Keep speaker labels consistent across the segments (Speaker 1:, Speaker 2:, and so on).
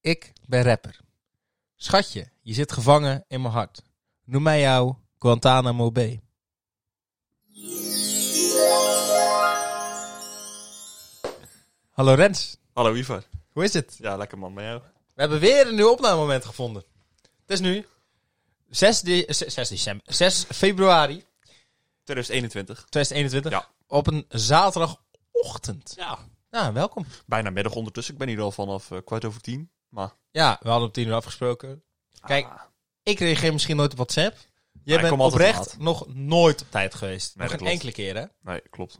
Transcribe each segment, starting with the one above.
Speaker 1: Ik ben rapper. Schatje, je zit gevangen in mijn hart. Noem mij jou Guantanamo Bay. Hallo Rens,
Speaker 2: Hallo Ivar.
Speaker 1: hoe is het?
Speaker 2: Ja, lekker man, bij jou?
Speaker 1: We hebben weer een nieuw opnamemoment gevonden. Het is nu 6, de- eh, 6 december, 6 februari
Speaker 2: 2021.
Speaker 1: 2021
Speaker 2: Ja.
Speaker 1: op een zaterdagochtend.
Speaker 2: Ja.
Speaker 1: Nou, welkom.
Speaker 2: Bijna middag ondertussen. Ik ben hier al vanaf eh, kwart over tien. Maar
Speaker 1: Ja, we hadden op 10 uur afgesproken. Kijk,
Speaker 2: Ah,
Speaker 1: ik reageer misschien nooit op WhatsApp. Jij
Speaker 2: ik
Speaker 1: bent
Speaker 2: kom altijd
Speaker 1: oprecht nog nooit op tijd geweest.
Speaker 2: Nee,
Speaker 1: nog
Speaker 2: dat
Speaker 1: een
Speaker 2: klopt.
Speaker 1: enkele keer, hè?
Speaker 2: nee, klopt.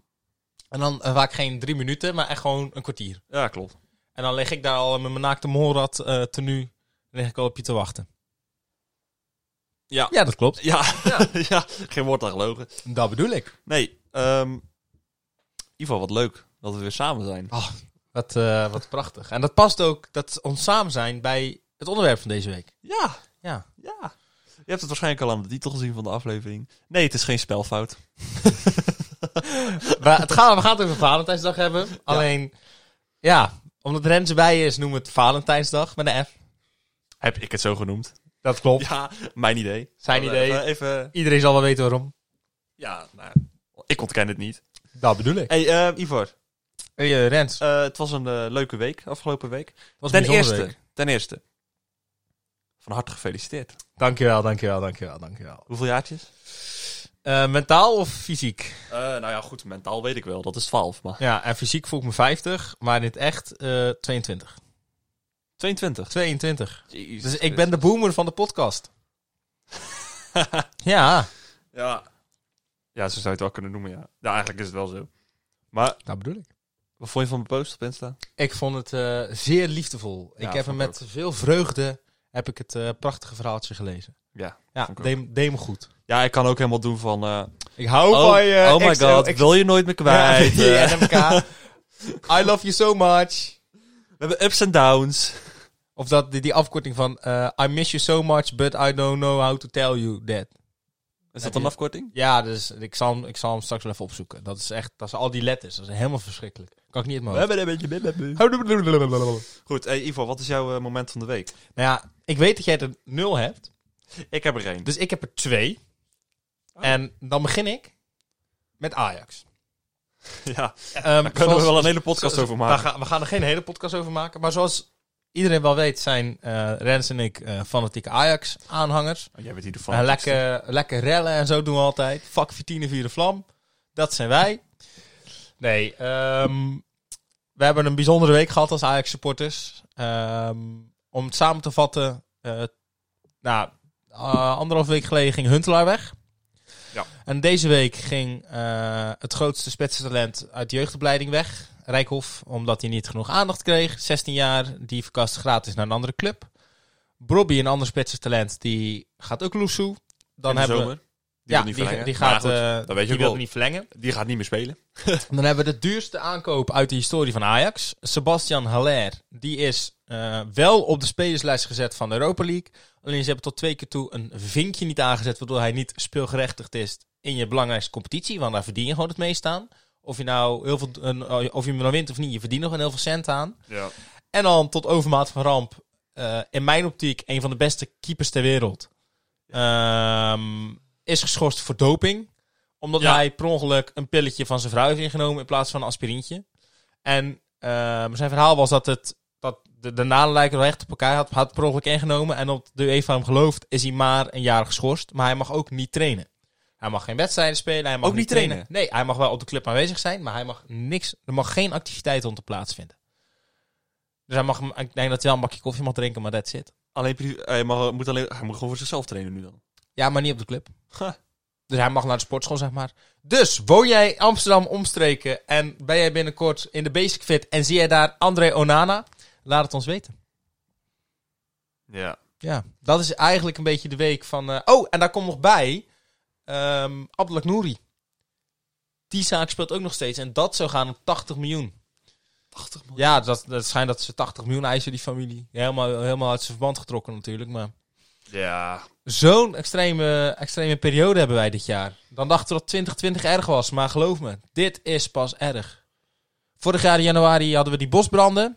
Speaker 1: En dan eh, vaak geen drie minuten, maar echt gewoon een kwartier.
Speaker 2: Ja, klopt.
Speaker 1: En dan lig ik daar al met mijn naakte molrad eh tenue. Dan lig ik al op je te wachten.
Speaker 2: Ja.
Speaker 1: Ja, dat klopt.
Speaker 2: Ja, ja. geen woord aan gelogen.
Speaker 1: Dat bedoel ik.
Speaker 2: Nee, ehm Ivar, wat leuk dat we weer samen zijn.
Speaker 1: Wat, eh, wat prachtig. En dat past ook, dat ons samen zijn bij het onderwerp van deze week.
Speaker 2: Ja,
Speaker 1: Ja.
Speaker 2: ja. Je hebt het waarschijnlijk al aan de titel gezien van de aflevering. Nee, het is geen spelfout.
Speaker 1: we, het gaat, we gaan het over Valentijnsdag hebben. Alleen, ja, omdat Rens erbij is, noemen we het Valentijnsdag met een F.
Speaker 2: Heb ik het zo genoemd?
Speaker 1: Dat klopt.
Speaker 2: Ja, mijn idee.
Speaker 1: Zijn
Speaker 2: Maar,
Speaker 1: idee.
Speaker 2: eh, even,
Speaker 1: Iedereen zal wel weten waarom.
Speaker 2: ja, nou, ik ontken het niet.
Speaker 1: Dat bedoel ik.
Speaker 2: hey, ehm, Ivar,
Speaker 1: Hey, eh, Rens,
Speaker 2: eh, het was een eh, leuke week, afgelopen week.
Speaker 1: was een
Speaker 2: Ten
Speaker 1: bijzondere
Speaker 2: eerste,
Speaker 1: week.
Speaker 2: ten eerste. Van harte gefeliciteerd.
Speaker 1: Dankjewel, dankjewel, dankjewel, dankjewel.
Speaker 2: Hoeveel jaartjes?
Speaker 1: Eh mentaal of fysiek?
Speaker 2: nou ja, goed, mentaal weet ik wel. Dat is 12, maar...
Speaker 1: Ja, en fysiek voel ik me 50, maar in het echt eh, 22.
Speaker 2: 22.
Speaker 1: 22. Dus ik ben de boomer van de podcast. ja,
Speaker 2: Ja. ja, zo zou je het wel kunnen noemen, ja. Ja, eigenlijk is het wel zo. Maar,
Speaker 1: dat bedoel ik.
Speaker 2: wat vond je van mijn post op Insta?
Speaker 1: Ik vond het eh, zeer liefdevol.
Speaker 2: Ja,
Speaker 1: ik heb hem
Speaker 2: vond ik
Speaker 1: met veel vreugde heb ik het eh, prachtige verhaaltje gelezen.
Speaker 2: Ja.
Speaker 1: Ja,
Speaker 2: Vond ik
Speaker 1: deed me- deed me goed.
Speaker 2: Ja, ik kan ook helemaal doen van... eh,
Speaker 1: Ik hou
Speaker 2: oh,
Speaker 1: van je.
Speaker 2: oh my
Speaker 1: XO,
Speaker 2: god,
Speaker 1: XO.
Speaker 2: wil je nooit meer kwijt.
Speaker 1: Ja,
Speaker 2: Eh,
Speaker 1: JNMK. I love you so much.
Speaker 2: we hebben ups en downs.
Speaker 1: Of dat, die, die afkorting van eh, I miss you so much, but I don't know how to tell you that. Heb
Speaker 2: Is dat
Speaker 1: je-
Speaker 2: een afkorting?
Speaker 1: Ja, dus ik zal, hem- ik zal hem straks wel even opzoeken. Dat is echt, dat zijn al die letters. Dat is helemaal verschrikkelijk. Kan ik niet het
Speaker 2: We
Speaker 1: mogen.
Speaker 2: hebben een beetje...
Speaker 1: Nou
Speaker 2: Oh. Goed, hey, Ivo, wat is jouw eh, moment van de week?
Speaker 1: ja, ik weet dat jij er nul hebt.
Speaker 2: Ik heb er één.
Speaker 1: Dus ik heb er twee.
Speaker 2: Oh.
Speaker 1: En dan begin ik met Ajax.
Speaker 2: ja,
Speaker 1: Ehm,
Speaker 2: daar kunnen
Speaker 1: zoals-
Speaker 2: we wel een hele podcast
Speaker 1: zo-
Speaker 2: over maken.
Speaker 1: daar gaan- we gaan er geen hele podcast over maken. Maar zoals iedereen wel weet, zijn eh, Rens en ik eh, fanatieke Ajax-aanhangers.
Speaker 2: Oh, jij bent hier de
Speaker 1: En lekker, lekker rellen en zo doen we altijd. Vak 14 vierde vlam. Dat zijn wij. Nee, ehm, we hebben een bijzondere week gehad als Ajax supporters. Ehm, om het samen te vatten. eh, nou, eh, anderhalf week geleden ging Huntelaar weg.
Speaker 2: Ja.
Speaker 1: En deze week ging eh, het grootste spetsentalent uit de jeugdopleiding weg. Rijkhof, omdat hij niet genoeg aandacht kreeg. 16 jaar, die verkast gratis naar een andere club. Brobby, een ander spetsentalent, die gaat ook loesoe. Dan
Speaker 2: In de
Speaker 1: hebben we-
Speaker 2: zomer. Die eh,
Speaker 1: ja,
Speaker 2: wil niet
Speaker 1: die,
Speaker 2: verlengen.
Speaker 1: die
Speaker 2: Maar
Speaker 1: gaat eh,
Speaker 2: goed,
Speaker 1: die
Speaker 2: je ook
Speaker 1: wil
Speaker 2: wel.
Speaker 1: het niet verlengen.
Speaker 2: die gaat niet meer spelen.
Speaker 1: Dan hebben we de duurste aankoop uit de historie van Ajax. Sebastian Haller. Die is eh, wel op de spelerslijst gezet van de Europa League. Alleen ze hebben tot twee keer toe een vinkje niet aangezet. Waardoor hij niet speelgerechtigd is in je belangrijkste competitie. Want daar verdien je gewoon het meest aan. Of je nou heel veel, een- of je hem nou wint of niet, je verdient nog een heel veel cent aan.
Speaker 2: Ja.
Speaker 1: En dan tot overmaat van ramp. eh, in mijn optiek een van de beste keepers ter wereld. Ehm, is geschorst voor doping. Omdat
Speaker 2: Ja.
Speaker 1: hij per ongeluk een pilletje van zijn vrouw heeft ingenomen in plaats van een aspirintje. En ehm, zijn verhaal was dat, het, dat de, de naden lijken wel echt op elkaar. Had, had per ongeluk ingenomen. En op de UEFA hem gelooft is hij maar een jaar geschorst. Maar hij mag ook niet trainen. Hij mag geen wedstrijden spelen. Hij mag
Speaker 2: Ook niet trainen?
Speaker 1: Nee, hij mag wel op de club aanwezig zijn. Maar hij mag niks, er mag geen activiteit om te plaatsvinden. Dus hij mag, hem- ik denk dat hij wel een bakje koffie mag drinken, maar that's it.
Speaker 2: Alleen, pri- hij, mag, moet alleen, hij moet gewoon voor zichzelf trainen nu dan.
Speaker 1: Ja, maar niet op de club.
Speaker 2: Ha.
Speaker 1: Dus hij mag naar de sportschool, zeg maar. Dus, woon jij Amsterdam omstreken en ben jij binnenkort in de Basic Fit en zie jij daar André Onana? Laat het ons weten.
Speaker 2: Ja.
Speaker 1: Ja, dat is eigenlijk een beetje de week van... eh, oh, en daar komt nog bij ehm Abdelak Nouri. Die zaak speelt ook nog steeds en dat zou gaan om 80 miljoen.
Speaker 2: 80 miljoen.
Speaker 1: Ja, dat, dat schijnt dat ze 80 miljoen eisen, die familie. Helemaal, helemaal uit zijn verband getrokken natuurlijk, maar...
Speaker 2: Ja.
Speaker 1: Zo'n extreme, extreme periode hebben wij dit jaar. Dan dachten we dat 2020 erg was, maar geloof me, dit is pas erg. Vorig jaar in januari hadden we die bosbranden.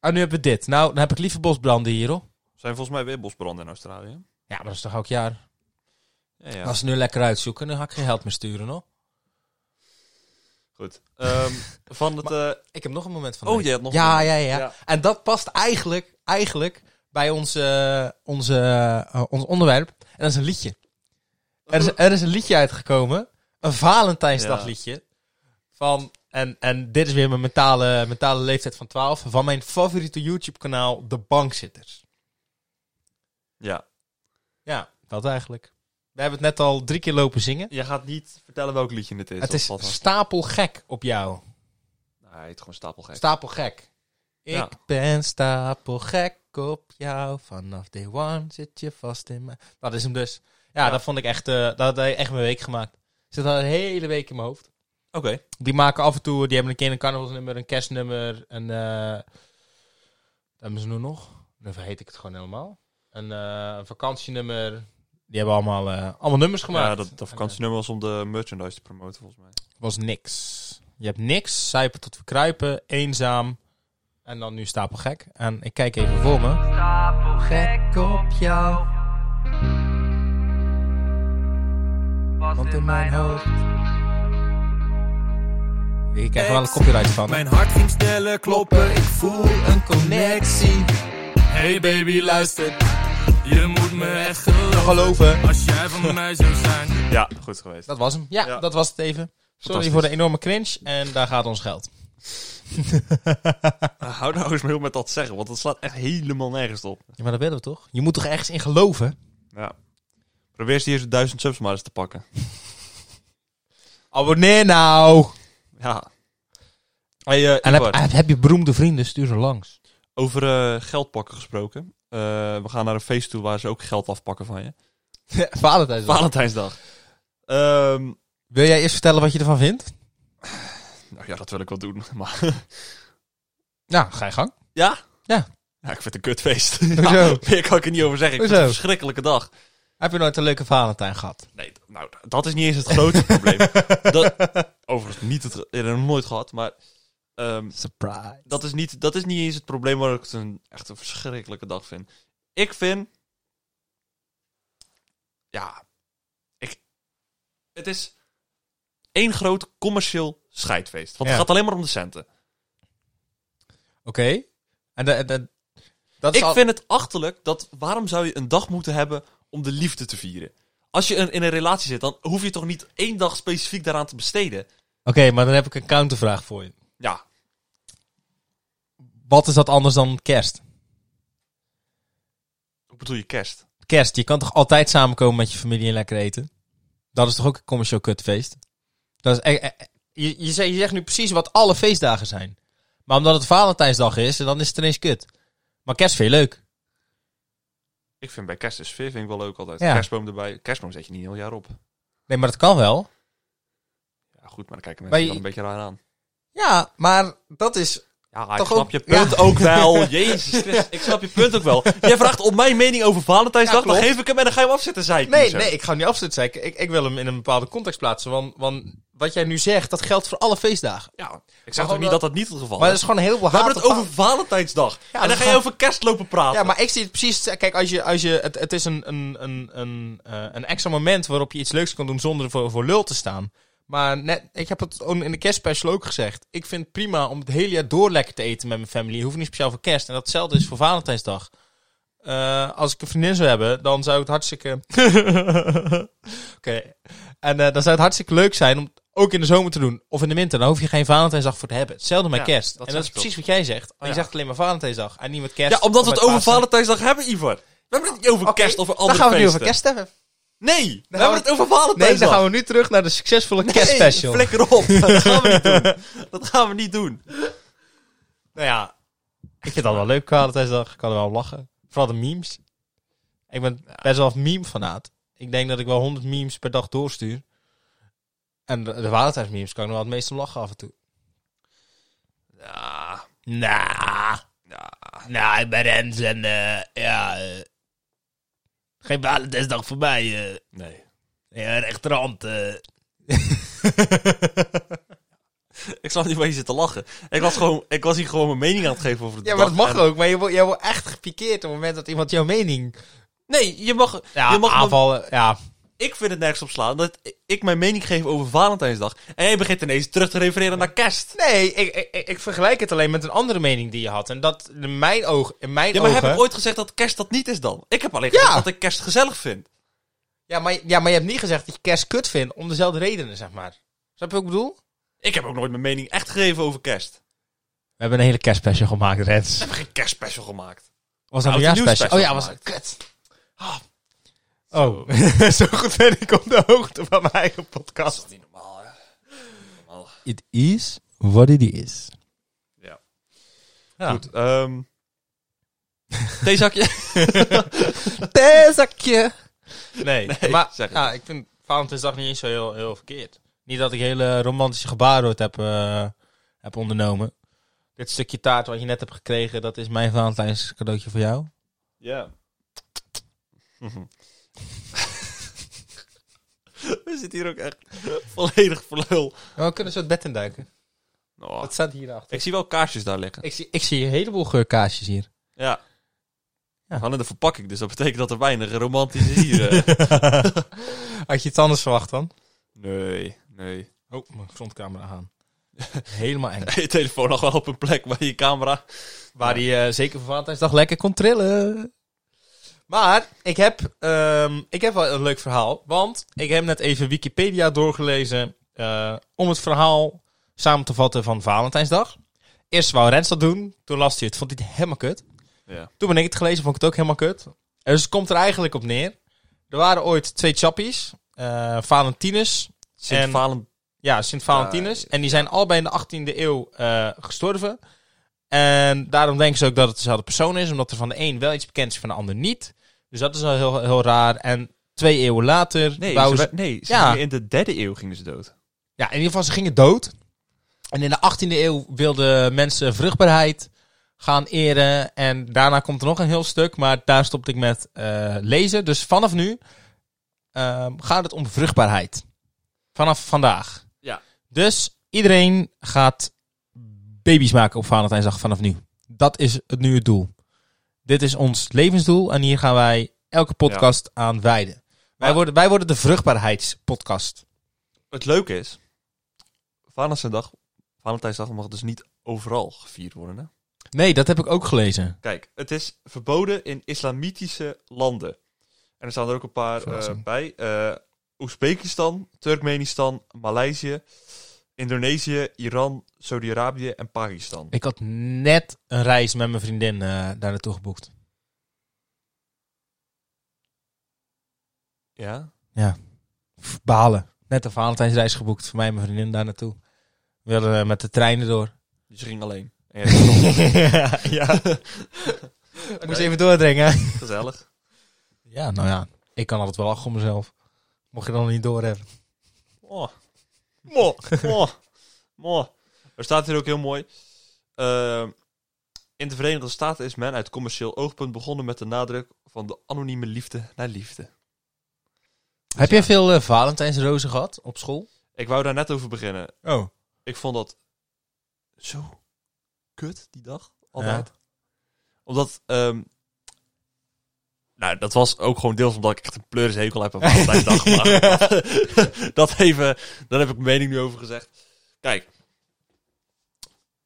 Speaker 1: Ah, nu hebben we dit. Nou, dan heb ik liever bosbranden hier, hoor.
Speaker 2: zijn volgens mij weer bosbranden in Australië.
Speaker 1: Ja, maar dat is toch elk jaar.
Speaker 2: Ja, ja.
Speaker 1: Als ze nu lekker uitzoeken, dan ga ik geen geld meer sturen, hoor.
Speaker 2: Goed. Ehm, van het... eh,
Speaker 1: Ik heb nog een moment van
Speaker 2: oh,
Speaker 1: de-
Speaker 2: je hebt nog
Speaker 1: ja,
Speaker 2: een-
Speaker 1: ja, ja,
Speaker 2: Ja.
Speaker 1: En dat past eigenlijk, eigenlijk bij onze, onze, eh, ons onderwerp. En dat is een liedje. Er is, er is een liedje uitgekomen. Een Valentijnsdagliedje. Van, en, en dit is weer mijn mentale, mentale leeftijd van 12. Van mijn favoriete YouTube kanaal, De Bankzitters.
Speaker 2: ja.
Speaker 1: Ja, dat eigenlijk. We hebben het net al drie keer lopen zingen.
Speaker 2: Je gaat niet vertellen welk liedje het is.
Speaker 1: Het
Speaker 2: of
Speaker 1: is
Speaker 2: wat dan.
Speaker 1: stapelgek op jou.
Speaker 2: Nee, het is gewoon stapelgek.
Speaker 1: Stapelgek. Ik
Speaker 2: Ja.
Speaker 1: ben stapelgek op jou. Vanaf day one zit je vast in mijn... Dat is hem dus. Ja,
Speaker 2: Ja.
Speaker 1: dat vond ik echt... eh, dat had hij echt mijn week gemaakt. Zit al een hele week in mijn hoofd.
Speaker 2: Oké.
Speaker 1: Die maken af en toe... Die hebben een keer een carnavalsnummer, een kerstnummer, een... eh wat hebben ze nu nog? Dan vergeet ik het gewoon helemaal. Een, eh, een vakantienummer. Die hebben allemaal, eh, allemaal nummers gemaakt.
Speaker 2: Ja, dat, dat vakantienummer was om de merchandise te promoten, volgens mij.
Speaker 1: was niks. Je hebt niks, zuipen tot verkruipen, eenzaam. En dan nu stapelgek. En ik kijk even voor me.
Speaker 3: Stapelgek op jou.
Speaker 1: Want in mijn hoofd. Ik krijg er wel een copyright van.
Speaker 4: Mijn hart ging sneller kloppen, ik voel een connectie. Hey baby, luister, je moet me echt geloven.
Speaker 1: Geloven.
Speaker 4: Als jij van mij zou zijn.
Speaker 2: Ja, goed geweest.
Speaker 1: Dat was hem. Ja,
Speaker 2: Ja.
Speaker 1: dat was het even. Sorry
Speaker 2: Fantastisch.
Speaker 1: voor de enorme cringe. En daar gaat ons geld.
Speaker 2: Eh, Hou nou eens mee op met dat zeggen, want dat slaat echt helemaal nergens op.
Speaker 1: Ja, maar dat willen we toch? Je moet toch ergens in geloven?
Speaker 2: Ja. Probeer eens die eerste duizend subs maar eens te pakken.
Speaker 1: Abonneer nou!
Speaker 2: Ja. Hey, eh,
Speaker 1: En heb,
Speaker 2: Ivar,
Speaker 1: heb- heb je beroemde vrienden, stuur ze langs.
Speaker 2: over eh, geld pakken gesproken. Eh, we gaan naar een feest toe waar ze ook geld afpakken van je.
Speaker 1: Valentijnsdag.
Speaker 2: Valentijnsdag. Ehm,
Speaker 1: Wil jij eerst vertellen wat je ervan vindt?
Speaker 2: nou ja, dat wil ik wel doen. Maar
Speaker 1: Nou, ga je gang.
Speaker 2: ja?
Speaker 1: Ja.
Speaker 2: Ja, ik vind het een kutfeest.
Speaker 1: Hoezo?
Speaker 2: Ja, meer kan ik er niet over zeggen. Ik vind
Speaker 1: Hoezo?
Speaker 2: het een verschrikkelijke dag.
Speaker 1: Heb je nooit een leuke Valentijn gehad?
Speaker 2: Nee, d- nou, d- dat is niet eens het grote probleem. Dat, overigens, niet het, ik heb het nog nooit gehad, maar ehm,
Speaker 1: Surprise.
Speaker 2: dat, is niet, dat is niet eens het probleem waar ik het een, echt een verschrikkelijke dag vind. Ik vind. Ja. Ik, het is één groot commercieel scheidfeest. Want
Speaker 1: Ja.
Speaker 2: het gaat alleen maar om de centen.
Speaker 1: Oké. En de, de- dat is
Speaker 2: Ik
Speaker 1: al-
Speaker 2: vind het achterlijk dat waarom zou je een dag moeten hebben om de liefde te vieren? Als je in in een relatie zit, dan hoef je toch niet één dag specifiek daaraan te besteden?
Speaker 1: Oké, maar dan heb ik een countervraag voor je.
Speaker 2: Ja,
Speaker 1: Wat is dat anders dan kerst?
Speaker 2: ik bedoel je kerst.
Speaker 1: Kerst, je kan toch altijd samenkomen met je familie en lekker eten? Dat is toch ook een commercieel kutfeest? Dat is, eh, eh, je, je, zegt, je zegt nu precies wat alle feestdagen zijn. Maar omdat het Valentijnsdag is, dan is het ineens kut. Maar kerst vind je leuk.
Speaker 2: Ik vind bij kerst de sfeer vind ik wel leuk altijd.
Speaker 1: Ja.
Speaker 2: Kerstboom erbij. Kerstboom zet je niet een heel jaar op.
Speaker 1: Nee, maar dat kan wel.
Speaker 2: Ja, goed, maar dan kijken mensen
Speaker 1: Maar je-
Speaker 2: wel een beetje raar aan.
Speaker 1: Ja, maar dat is...
Speaker 2: Ja, ik
Speaker 1: Toch
Speaker 2: snap
Speaker 1: ook-
Speaker 2: je punt
Speaker 1: ja.
Speaker 2: ook wel. Jezus Christus, ik snap je punt ook wel. Jij vraagt om mijn mening over Valentijnsdag,
Speaker 1: Ja,
Speaker 2: dan
Speaker 1: klopt.
Speaker 2: geef ik hem en dan ga je hem afzetten, zei ik niet
Speaker 1: Nee,
Speaker 2: zo.
Speaker 1: nee, ik ga nu absoluut zeggen. Ik, ik wil hem in een bepaalde context plaatsen. Want, want wat jij nu zegt, dat geldt voor alle feestdagen.
Speaker 2: Ja, ik
Speaker 1: Maar
Speaker 2: zeg toch niet
Speaker 1: dat-
Speaker 2: dat dat niet het geval
Speaker 1: Maar dus dat is
Speaker 2: is.
Speaker 1: gewoon heel veel
Speaker 2: Oh. We hebben het over Valentijnsdag. en
Speaker 1: dat is
Speaker 2: dan ga je
Speaker 1: gewoon-
Speaker 2: over kerst lopen praten.
Speaker 1: dus Ja, maar ik zie het precies. Kijk, als je, als je, het, het is een, een, een, een, eh, een extra moment waarop je iets leuks kan doen zonder voor, voor lul te staan. Maar net, ik heb het ook in de kerstspecial ook gezegd. Ik vind het prima om het hele jaar door lekker te eten met mijn familie. Je hoeft niet speciaal voor kerst. En datzelfde is voor Valentijnsdag. Eh, als ik een vriendin zou hebben, dan zou het hartstikke. Oké. En eh, dan zou het hartstikke leuk zijn om het ook in de zomer te doen. Of in de winter. Dan hoef je geen Valentijnsdag voor te hebben. Hetzelfde met
Speaker 2: Ja,
Speaker 1: kerst.
Speaker 2: dat
Speaker 1: en
Speaker 2: zeg
Speaker 1: dat is
Speaker 2: ik ook.
Speaker 1: precies wat jij zegt.
Speaker 2: ja.
Speaker 1: Je zegt alleen maar Valentijnsdag. En niet met kerst.
Speaker 2: Ja, omdat
Speaker 1: of
Speaker 2: we het
Speaker 1: met
Speaker 2: over
Speaker 1: Pasen.
Speaker 2: Valentijnsdag hebben, Ivor. We hebben het niet over
Speaker 1: Oké,
Speaker 2: kerst of over
Speaker 1: Dan
Speaker 2: andere
Speaker 1: gaan we nu over
Speaker 2: feesten.
Speaker 1: kerst hebben.
Speaker 2: Nee, we
Speaker 1: Dan
Speaker 2: hebben
Speaker 1: gaan
Speaker 2: het over Valentijnsdag.
Speaker 1: Nee, dan gaan we nu terug naar de succesvolle
Speaker 2: Nee,
Speaker 1: kerstspecial.
Speaker 2: flikker op. Dat gaan we niet doen. Dat gaan we niet doen.
Speaker 1: Nou ja, ik vind dat wel leuk, Valentijnsdag. Ik kan er wel om lachen. Vooral de memes. Ik ben best wel een meme-fanaat. Ik denk dat ik wel 100 memes per dag doorstuur. En de, de Valentijnsmemes kan ik nog wel het meest om lachen af en toe.
Speaker 2: Ja,
Speaker 1: Nou, nou, ik ben Rens en
Speaker 2: eh,
Speaker 1: ja... geen Valentijnsdag voor mij.
Speaker 2: eh. nee. eh.
Speaker 1: ja, rechterhand.
Speaker 2: Ik snap niet waar je zit te lachen. Ik was, gewoon, ik was hier gewoon mijn mening aan het geven over het
Speaker 1: Ja, maar dat
Speaker 2: dag.
Speaker 1: mag
Speaker 2: En-
Speaker 1: ook. Maar je wordt, je wordt echt gepikeerd op het moment dat iemand jouw mening...
Speaker 2: Nee, je mag,
Speaker 1: Ja,
Speaker 2: je mag
Speaker 1: aanvallen. Ja,
Speaker 2: Ik vind het nergens op slaan dat ik mijn mening geef over Valentijnsdag. En jij begint ineens terug te refereren naar kerst.
Speaker 1: Nee, ik, ik, ik- ik vergelijk het alleen met een andere mening die je had. En dat in mijn oog, in mijn
Speaker 2: Ja, maar
Speaker 1: ogen...
Speaker 2: heb ik ooit gezegd dat kerst dat niet is dan? Ik heb alleen
Speaker 1: Ja.
Speaker 2: gezegd dat ik kerst gezellig vind.
Speaker 1: ja, maar, ja, maar je hebt niet gezegd dat je kerst kut vindt om dezelfde redenen, zeg maar. Snap je wat ik bedoel?
Speaker 2: Ik heb ook nooit mijn mening echt gegeven over kerst.
Speaker 1: We hebben een hele kerstspecial gemaakt, Rens.
Speaker 2: We hebben geen kerstspecial gemaakt.
Speaker 1: Was dat
Speaker 2: een
Speaker 1: een jaarspecial?
Speaker 2: nieuwsspecial
Speaker 1: Oh ja, was het kut. Oh, zo goed ben ik op de hoogte van mijn eigen
Speaker 2: Dat is
Speaker 1: podcast.
Speaker 2: toch niet normaal, hè? Normaal.
Speaker 1: It is what it is.
Speaker 2: Goed, ehm... theezakje?
Speaker 1: Theezakje. Nee,
Speaker 2: Nee,
Speaker 1: maar
Speaker 2: zeg het.
Speaker 1: ja, ik vind Valentijnsdag niet eens zo heel, heel verkeerd. Niet dat ik hele romantische gebaren ooit heb, eh, heb ondernomen. Dit stukje taart wat je net hebt gekregen, dat is mijn Valentijns cadeautje voor jou.
Speaker 2: Ja. We zitten hier ook echt volledig voor lul.
Speaker 1: Maar we kunnen zo het bed in duiken.
Speaker 2: Oh,
Speaker 1: Wat staat hierachter?
Speaker 2: ik zie wel kaarsjes daar liggen.
Speaker 1: Ik zie, ik zie een heleboel geurkaasjes hier.
Speaker 2: Ja.
Speaker 1: Ja.
Speaker 2: Van in de verpakking, dus dat betekent dat er weinig romantisch is hier. eh.
Speaker 1: Had je iets anders verwacht dan?
Speaker 2: nee, nee.
Speaker 1: Oh, mijn frontcamera aan. Helemaal eng.
Speaker 2: Je telefoon nog wel op een plek waar je camera...
Speaker 1: Waar hij eh, zeker voor Valentijnsdag lekker kon trillen. Maar ik heb, ehm, ik heb wel een leuk verhaal. Want ik heb net even Wikipedia doorgelezen. eh, om het verhaal samen te vatten van Valentijnsdag. Eerst wou Rens dat doen. Toen las hij het. Vond hij het helemaal kut.
Speaker 2: Ja.
Speaker 1: Toen ben ik het gelezen. Vond ik het ook helemaal kut. En dus het komt er eigenlijk op neer. Er waren ooit twee chappies. eh, Valentinus.
Speaker 2: Sint
Speaker 1: En-
Speaker 2: Valen...
Speaker 1: Ja, Sint Valentinus. En die zijn allebei in de 18e eeuw eh, gestorven. En daarom denken ze ook dat het dezelfde persoon is, omdat er van de een wel iets bekend is, van de ander niet. Dus dat is al heel, heel raar. En twee eeuwen later.
Speaker 2: Nee,
Speaker 1: wouden
Speaker 2: ze,
Speaker 1: ze-
Speaker 2: nee ze
Speaker 1: Ja.
Speaker 2: gingen in de derde eeuw gingen ze dood.
Speaker 1: Ja, in ieder geval, ze gingen dood. En in de 18e eeuw wilden mensen vruchtbaarheid gaan eren. En daarna komt er nog een heel stuk, maar daar stopte ik met eh, lezen. Dus vanaf nu ehm, gaat het om vruchtbaarheid. Vanaf vandaag.
Speaker 2: Ja.
Speaker 1: Dus iedereen gaat baby's maken op Valentijnsdag vanaf nu. Dat is het nu het doel. Dit is ons levensdoel en hier gaan wij elke podcast aan wijden. Wij
Speaker 2: Maar-
Speaker 1: worden, wij worden de vruchtbaarheidspodcast.
Speaker 2: Het leuke is... Valentijnsdag, Valentijnsdag mag dus niet overal gevierd worden, hè?
Speaker 1: Nee, dat heb ik ook gelezen.
Speaker 2: Kijk, het is verboden in islamitische landen. En er staan er ook een paar eh,
Speaker 1: Verrassing.
Speaker 2: bij. Eh, Oezbekistan, Turkmenistan, Maleisië, Indonesië, Iran, Saudi-Arabië en Pakistan.
Speaker 1: Ik had net een reis met mijn vriendin eh, daar naartoe geboekt.
Speaker 2: Ja?
Speaker 1: Pff, Balen. Net een Valentijnsreis geboekt voor mij en mijn vriendin daar naartoe. We wilden eh, met de treinen door.
Speaker 2: Dus je ging alleen. En jij ging nog.
Speaker 1: ja, Ik moest even doordringen.
Speaker 2: Gezellig.
Speaker 1: Ja, nou ja. Ik kan altijd wel lachen om mezelf. Mocht je dan niet doorhebben.
Speaker 2: Oh. Mo. Mo. Mo. Er staat hier ook heel mooi. ehm, in de Verenigde Staten is men uit commercieel oogpunt begonnen met de nadruk van de anonieme liefde naar liefde.
Speaker 1: Heb jij veel eh, Valentijnsrozen gehad op school?
Speaker 2: Ik wou daar net over beginnen.
Speaker 1: Oh.
Speaker 2: Ik vond dat zo kut die dag. Altijd. Omdat, ehm, nou, dat was ook gewoon deels omdat ik echt een pleurishekel heb aan Valentijnsdag. maar dat, dat even, daar heb ik mijn mening nu over gezegd. Kijk,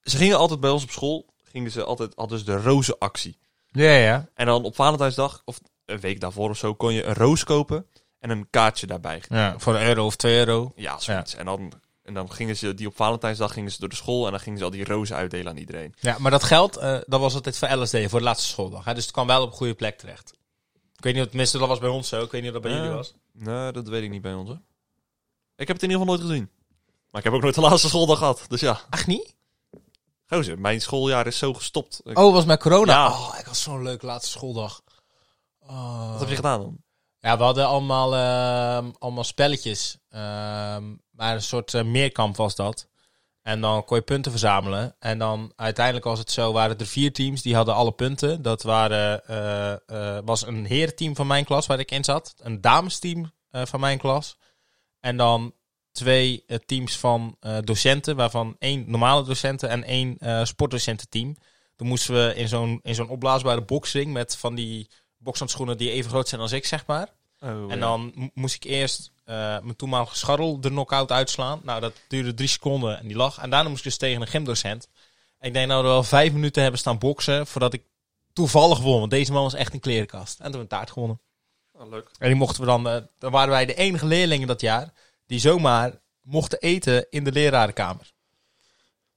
Speaker 2: ze gingen altijd bij ons op school, gingen ze altijd, hadden ze de rozenactie.
Speaker 1: Ja, ja.
Speaker 2: En dan op Valentijnsdag, of een week daarvoor of zo, kon je een roos kopen en een kaartje daarbij.
Speaker 1: ja. Voor een euro of twee euro.
Speaker 2: Ja, zoiets. En, dan, en dan gingen ze die op Valentijnsdag gingen ze door de school en dan gingen ze al die rozen uitdelen aan iedereen.
Speaker 1: Ja, maar dat geld, eh, dat was altijd voor LSD, voor de laatste schooldag. Hè? Dus het kwam wel op een goede plek terecht. Ik weet niet, of- tenminste, dat was bij ons zo. Ik weet niet of dat bij
Speaker 2: Ja.
Speaker 1: jullie was.
Speaker 2: Nee, dat weet ik niet bij ons. Hoor. Ik heb het in ieder geval nooit gezien. Maar ik heb ook nooit de laatste schooldag gehad. Dus ja,
Speaker 1: Echt niet?
Speaker 2: gozer, mijn schooljaar is zo gestopt. Ik-
Speaker 1: Oh, was met corona?
Speaker 2: Ja.
Speaker 1: Oh, ik had zo'n leuke laatste schooldag. Oh.
Speaker 2: Wat heb je gedaan dan?
Speaker 1: Ja, we hadden allemaal, ehm, allemaal spelletjes. Ehm, maar een soort eh, meerkamp was dat. En dan kon je punten verzamelen. En dan uiteindelijk was het zo, waren er vier teams, die hadden alle punten. Dat waren, eh, eh, was een herenteam van mijn klas waar ik in zat. Een damesteam eh, van mijn klas. En dan twee eh, teams van eh, docenten, waarvan één normale docenten en één eh, sportdocententeam. Toen moesten we in zo'n, in zo'n opblaasbare boxring met van die bokshandschoenen die even groot zijn als ik, zeg maar.
Speaker 2: Oh,
Speaker 1: En dan mo- moest ik eerst eh, mijn toenmalige scharrel de knock-out uitslaan. Nou, dat duurde drie seconden en die lag. En daarna moest ik dus tegen een gymdocent. En ik denk nou, we wel vijf minuten hebben staan boksen voordat ik toevallig won. Want deze man was echt een klerenkast. En toen hebben we een taart gewonnen.
Speaker 2: leuk.
Speaker 1: En die mochten we dan, eh, dan waren wij de enige leerlingen dat jaar die zomaar mochten eten in de lerarenkamer.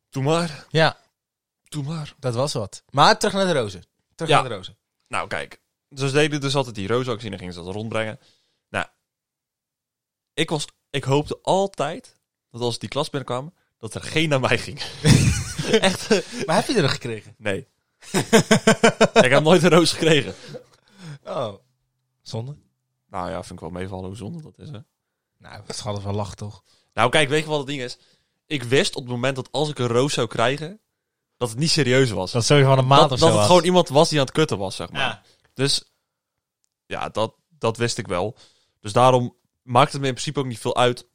Speaker 2: Doe maar.
Speaker 1: Ja,
Speaker 2: Doe maar.
Speaker 1: dat was wat. Maar terug naar de rozen. Terug
Speaker 2: Ja.
Speaker 1: naar de rozen.
Speaker 2: Nou, kijk. Dus ze deden dus altijd die roosactie en dan gingen ze dat rondbrengen. Nou, ik, was, ik hoopte altijd dat als die klas binnenkwam, dat er geen naar mij ging. Echt?
Speaker 1: Maar heb je er gekregen?
Speaker 2: Nee. ik heb nooit een roos gekregen.
Speaker 1: Oh. Zonde?
Speaker 2: Nou ja, vind ik wel meevallen hoe zonde dat is, hè.
Speaker 1: Nou, het hadden wel lach toch?
Speaker 2: Nou, kijk, weet je wat het ding is? Ik wist op het moment dat als ik een roos zou krijgen, dat het niet serieus was.
Speaker 1: Dat sowieso van een maand
Speaker 2: dat dat het gewoon iemand was die aan het kutten was, zeg maar.
Speaker 1: Ja.
Speaker 2: Dus ja, dat, dat wist ik wel. Dus daarom maakt het me in principe ook niet veel uit.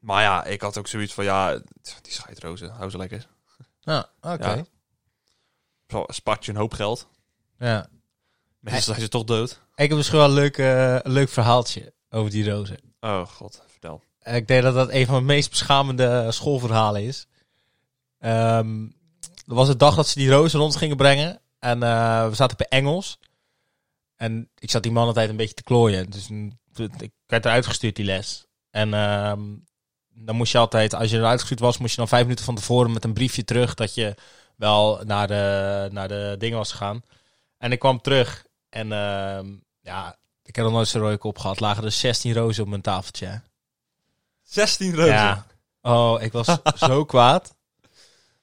Speaker 2: Maar ja, ik had ook zoiets van, ja, t- die scheidrozen, hou ze lekker.
Speaker 1: Ja, Ah, oké.
Speaker 2: Ja. Zo, spart je een hoop geld.
Speaker 1: Ja.
Speaker 2: Mensen zijn ze toch dood.
Speaker 1: Ik heb misschien wel een leuk, eh, leuk verhaaltje over die rozen.
Speaker 2: Oh god, vertel.
Speaker 1: Eh, ik denk dat dat een van mijn meest beschamende eh, schoolverhalen is. Ehm dat was de dag dat ze die rozen rond gingen brengen. En eh, we zaten bij Engels. En ik zat die man altijd een beetje te klooien. Dus mm, ik werd eruit gestuurd die les. En ehm, dan moest je altijd, als je eruit gestuurd was, moest je dan vijf minuten van tevoren met een briefje terug dat je wel naar de, naar de dingen was gegaan. En ik kwam terug en ehm, ja, ik heb nog nooit zo'n rode kop gehad. Lagen er 16 rozen op mijn tafeltje. hè.
Speaker 2: 16 rozen.
Speaker 1: Ja. Oh, ik was zo kwaad.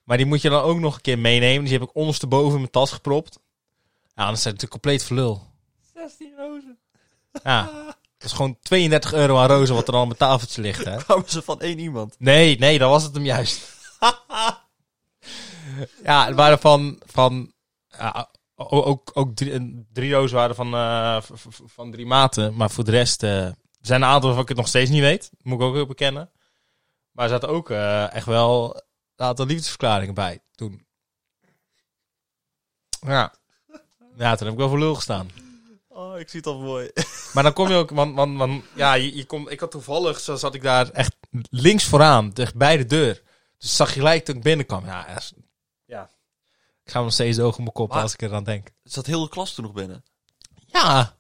Speaker 1: Maar die moet je dan ook nog een keer meenemen. Dus die heb ik ondersteboven in mijn tas gepropt. Ja, dan zijn het natuurlijk compleet verlul.
Speaker 2: 16 rozen.
Speaker 1: Ja. Dat is gewoon 32 euro aan rozen wat er al op mijn tafeltje ligt, hè.
Speaker 2: Kwamen ze van één iemand.
Speaker 1: Nee, nee, dat was het hem juist. ja, het waren van... van ja, o- ook, ook drie, een- drie rozen waren van, eh, v- v- van drie maten. Maar voor de rest eh, er zijn een aantal waarvan ik het nog steeds niet weet. Moet ik ook heel bekennen. Maar er zaten ook eh, echt wel een aantal liefdesverklaringen bij toen. Ja. Ja, toen heb ik wel voor lul gestaan.
Speaker 2: Oh, ik zie het al mooi.
Speaker 1: Maar dan kom je ook, want, want, want ja, je, je komt- ik had toevallig, zo zat ik daar echt links vooraan, dicht bij de deur. Dus zag je gelijk toen ik binnenkwam. Ja, echt. ja. ik ga me nog steeds de ogen op mijn kop
Speaker 2: Maar-
Speaker 1: als ik er aan denk.
Speaker 2: Zat heel de klas toen nog binnen.
Speaker 1: Ja,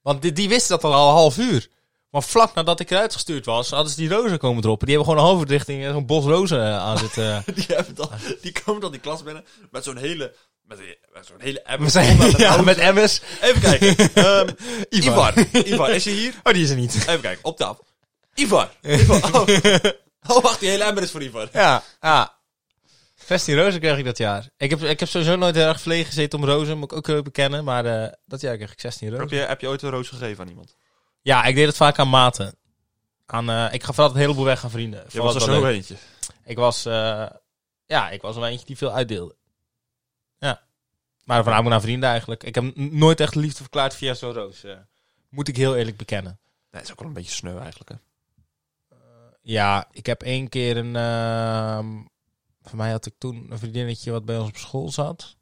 Speaker 1: want die, die wisten dat al een half uur. Maar vlak nadat ik eruit gestuurd was, hadden ze die rozen komen droppen. Die hebben gewoon een halve richting zo'n bos rozen eh, aan zitten.
Speaker 2: Die, hebben dan, die komen dan die klas binnen met zo'n hele... Met, een- met zo'n hele emmer
Speaker 1: We zijn
Speaker 2: vol
Speaker 1: ja,
Speaker 2: rozen.
Speaker 1: met MS.
Speaker 2: Even kijken. Ehm,
Speaker 1: Ivar.
Speaker 2: Ivar. Ivar, is hij hier?
Speaker 1: Oh, die is er niet.
Speaker 2: Even kijken, op tafel. Ivar. Ivar. Oh. Oh, wacht, die hele emmer is voor Ivar.
Speaker 1: Ja, ja. 16 rozen kreeg ik dat jaar. Ik heb, ik heb sowieso nooit heel erg verlegen gezeten om rozen, moet ik ook heel bekennen. Maar eh, dat jaar kreeg ik 16 rozen.
Speaker 2: Heb je, heb je ooit een roos gegeven aan iemand?
Speaker 1: Ja, ik deed het vaak aan maten. Aan, eh, ik gaf altijd een heleboel weg aan vrienden. Vond
Speaker 2: Je was er
Speaker 1: dat wel
Speaker 2: zo
Speaker 1: leuk.
Speaker 2: eentje.
Speaker 1: Ik was, eh, ja, ik was wel eentje die veel uitdeelde. Ja. Maar voornamelijk naar vrienden eigenlijk. Ik heb n- nooit echt liefde verklaard via zo'n roos. eh. moet ik heel eerlijk bekennen.
Speaker 2: Nee, is ook wel een beetje sneu eigenlijk. Hè.
Speaker 1: Ja, ik heb één keer een. ehm, voor mij had ik toen een vriendinnetje wat bij ons op school zat.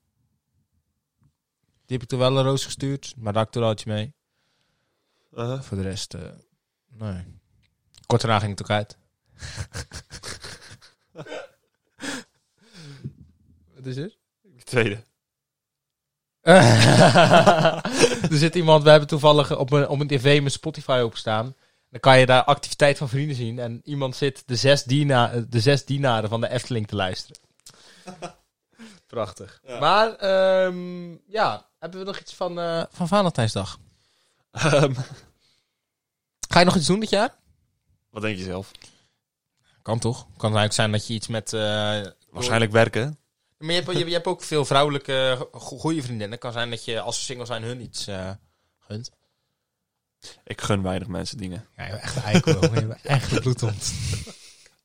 Speaker 1: Die heb ik toen wel een roos gestuurd, maar daar had ik toen altijd mee.
Speaker 2: Uh-huh.
Speaker 1: Voor de rest, eh, nee. Kort daarna ging het ook uit. Wat is dit?
Speaker 2: Tweede.
Speaker 1: er zit iemand, we hebben toevallig op een, op een tv mijn Spotify openstaan. Dan kan je daar activiteit van vrienden zien. En iemand zit de zes, diena, de zes dienaren van de Efteling te luisteren. Prachtig.
Speaker 2: Ja.
Speaker 1: Maar ehm, ja, hebben we nog iets van, eh, van Valentijnsdag?
Speaker 2: Ehm,
Speaker 1: Ga je nog iets doen dit jaar?
Speaker 2: wat denk je zelf?
Speaker 1: Kan toch? Kan eigenlijk zijn dat je iets met... eh,
Speaker 2: Waarschijnlijk werken.
Speaker 1: Maar je hebt, je, je hebt ook veel vrouwelijke go- goede vriendinnen. Het kan zijn dat je als ze single zijn hun iets eh gunt.
Speaker 2: Ik gun weinig mensen dingen.
Speaker 1: Ja, je bent echt een eikel. jongen. je bent echt een bloedhond.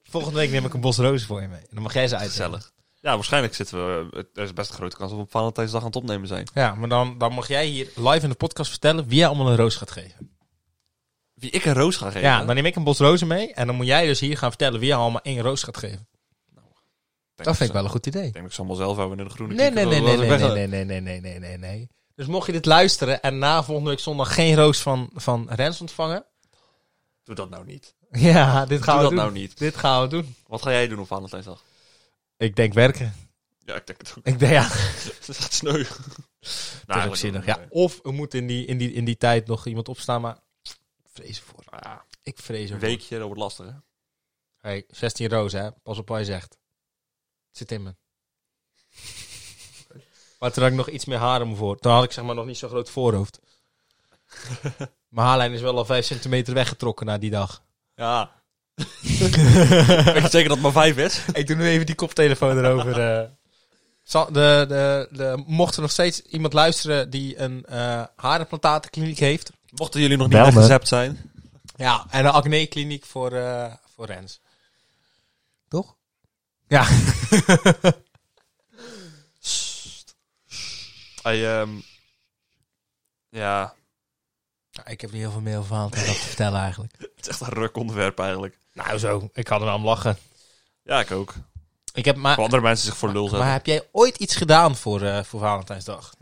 Speaker 1: Volgende week neem ik een bos rozen voor je mee. En dan mag jij ze uitdelen.
Speaker 2: Gezellig. Ja, waarschijnlijk zitten we... Er is best een grote kans dat we op Valentijnsdag aan het opnemen zijn.
Speaker 1: Ja, maar dan, dan mag jij hier live in de podcast vertellen wie jij allemaal een roos gaat geven.
Speaker 2: Wie ik een roos ga geven.
Speaker 1: Ja, dan neem ik een bos rozen mee. En dan moet jij dus hier gaan vertellen wie jou allemaal één roos gaat geven.
Speaker 2: Denk
Speaker 1: Dat vind
Speaker 2: ze-
Speaker 1: ik wel een goed idee.
Speaker 2: Ik denk dat ik ze allemaal zelf houden in de groene
Speaker 1: Nee, nee,
Speaker 2: kikker,
Speaker 1: nee,
Speaker 2: wel-
Speaker 1: nee,
Speaker 2: wel-
Speaker 1: nee,
Speaker 2: wel-
Speaker 1: nee, nee, nee, nee, nee, nee, nee. Dus mocht je dit luisteren en na volgende week zondag geen roos van, van Rens ontvangen.
Speaker 2: Doe dat nou niet.
Speaker 1: Ja, dit gaan
Speaker 2: Doe
Speaker 1: we
Speaker 2: dat
Speaker 1: doen.
Speaker 2: nou niet.
Speaker 1: Dit gaan we doen.
Speaker 2: Wat ga jij doen op Valentijnsdag?
Speaker 1: Ik denk werken.
Speaker 2: Ja, ik denk het ook.
Speaker 1: Ik denk, ja,
Speaker 2: Het is echt sneu. Nou,
Speaker 1: dat is ook
Speaker 2: eigenlijk
Speaker 1: zinnig.
Speaker 2: wel.
Speaker 1: Ja, eh, of er moet in die, in, die, in die tijd nog iemand opstaan, maar ik vrees ervoor.
Speaker 2: Nou ja,
Speaker 1: Ik vrees
Speaker 2: een
Speaker 1: ervoor.
Speaker 2: weekje, dat wordt lastig, hè?
Speaker 1: Hey, 16 rozen, hè? Pas op wat je zegt. Het zit in me. Maar toen had ik nog iets meer haren me voor. Toen had ik zeg maar nog niet zo'n groot voorhoofd. Mijn haarlijn is wel al 5 centimeter weggetrokken na die dag.
Speaker 2: Ja. ik weet zeker dat het maar vijf is.
Speaker 1: Ik doe nu even die koptelefoon erover. eh. Zal- de, de, de, mocht er nog steeds iemand luisteren die een eh harenplantatenkliniek heeft.
Speaker 2: Mochten jullie nog niet
Speaker 5: Bel me.
Speaker 2: weggezept zijn.
Speaker 1: Ja, en een acne-kliniek voor, eh, voor Rens. Toch?
Speaker 2: Hey, ehm, ja,
Speaker 1: Nou, ik heb niet heel veel meer over aan te vertellen eigenlijk.
Speaker 2: het is echt een ruk onderwerp eigenlijk.
Speaker 1: Nou zo, ik had er aan lachen.
Speaker 2: Ja, ik ook.
Speaker 1: Ik heb maar,
Speaker 2: Voor andere mensen zich voor lul zetten.
Speaker 1: maar heb jij ooit iets gedaan voor, eh, voor Valentijnsdag?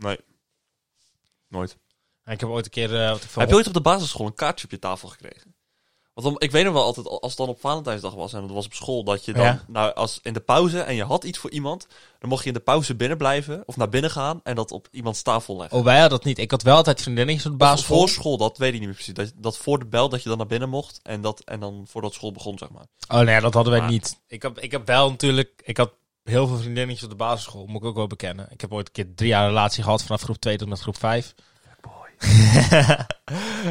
Speaker 2: Nooit.
Speaker 1: Ik heb ooit een keer... eh, wat ik van
Speaker 2: Heb je ooit op de basisschool een kaartje op je tafel gekregen? Want dan, ik weet nog wel altijd, als het dan op Valentijnsdag was en dat was op school, dat je dan
Speaker 1: Ja.
Speaker 2: nou, als in de pauze en je had iets voor iemand, dan mocht je in de pauze binnen blijven of naar binnen gaan en dat op iemands tafel leggen.
Speaker 1: Oh, wij hadden dat niet. Ik had wel altijd vriendinnetjes op de
Speaker 2: Of
Speaker 1: basisschool.
Speaker 2: Voor school, dat weet ik niet meer precies. Dat, dat voor de bel dat je dan naar binnen mocht en, dat, en dan voordat school begon, zeg maar.
Speaker 1: Oh nee, dat hadden wij
Speaker 2: Maar-
Speaker 1: niet. Ik heb, ik heb wel natuurlijk... Ik had heel veel vriendinnetjes op de basisschool. Moet ik ook wel bekennen. Ik heb ooit een keer drie jaar een relatie gehad. Vanaf groep 2 tot met groep 5.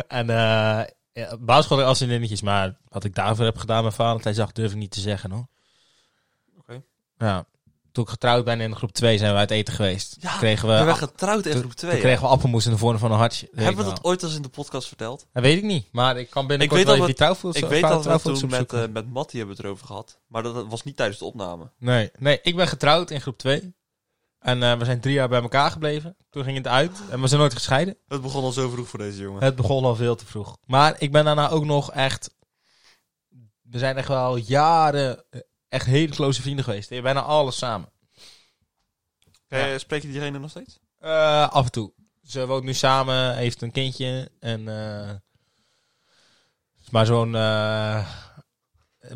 Speaker 1: en eh ja, op basisschool had ik al vriendinnetjes. Maar wat ik daarvoor heb gedaan met Valentijnsdag durf ik niet te zeggen hoor.
Speaker 2: Oké.
Speaker 1: Ja. Toen ik getrouwd ben in groep 2 zijn we uit eten geweest.
Speaker 2: Ja,
Speaker 1: kregen
Speaker 2: we
Speaker 1: we
Speaker 2: werden getrouwd in
Speaker 1: toen-
Speaker 2: groep
Speaker 1: Toen
Speaker 2: 2.
Speaker 1: kregen we appelmoes in de vorm van een hartje. Weet
Speaker 2: Hebben
Speaker 1: ik
Speaker 2: we
Speaker 1: nog.
Speaker 2: dat ooit eens in de podcast verteld?
Speaker 1: Dat weet ik niet. Maar ik kan binnenkort
Speaker 2: Ik weet
Speaker 1: wel
Speaker 2: dat
Speaker 1: even die trouwvoedsel
Speaker 2: ik weet dat we
Speaker 1: trouwvoedsel
Speaker 2: toen met,
Speaker 1: opzoeken.
Speaker 2: eh met Mattie hebben we het erover gehad, maar dat, dat was niet tijdens de opname.
Speaker 1: Nee, nee, ik ben getrouwd in groep 2. En eh, we zijn drie jaar bij elkaar gebleven. Toen ging het uit. En we zijn nooit gescheiden.
Speaker 2: Het begon al zo vroeg voor deze jongen.
Speaker 1: Het begon al veel te vroeg. Maar ik ben daarna ook nog echt... We zijn echt wel jaren eh, echt hele close vrienden geweest. We hebben Bijna alles samen.
Speaker 2: Hey,
Speaker 1: Ja.
Speaker 2: Spreek je diegene nog steeds?
Speaker 1: Eh, af en toe. Ze woont nu samen, heeft een kindje. En, eh, is maar zo'n eh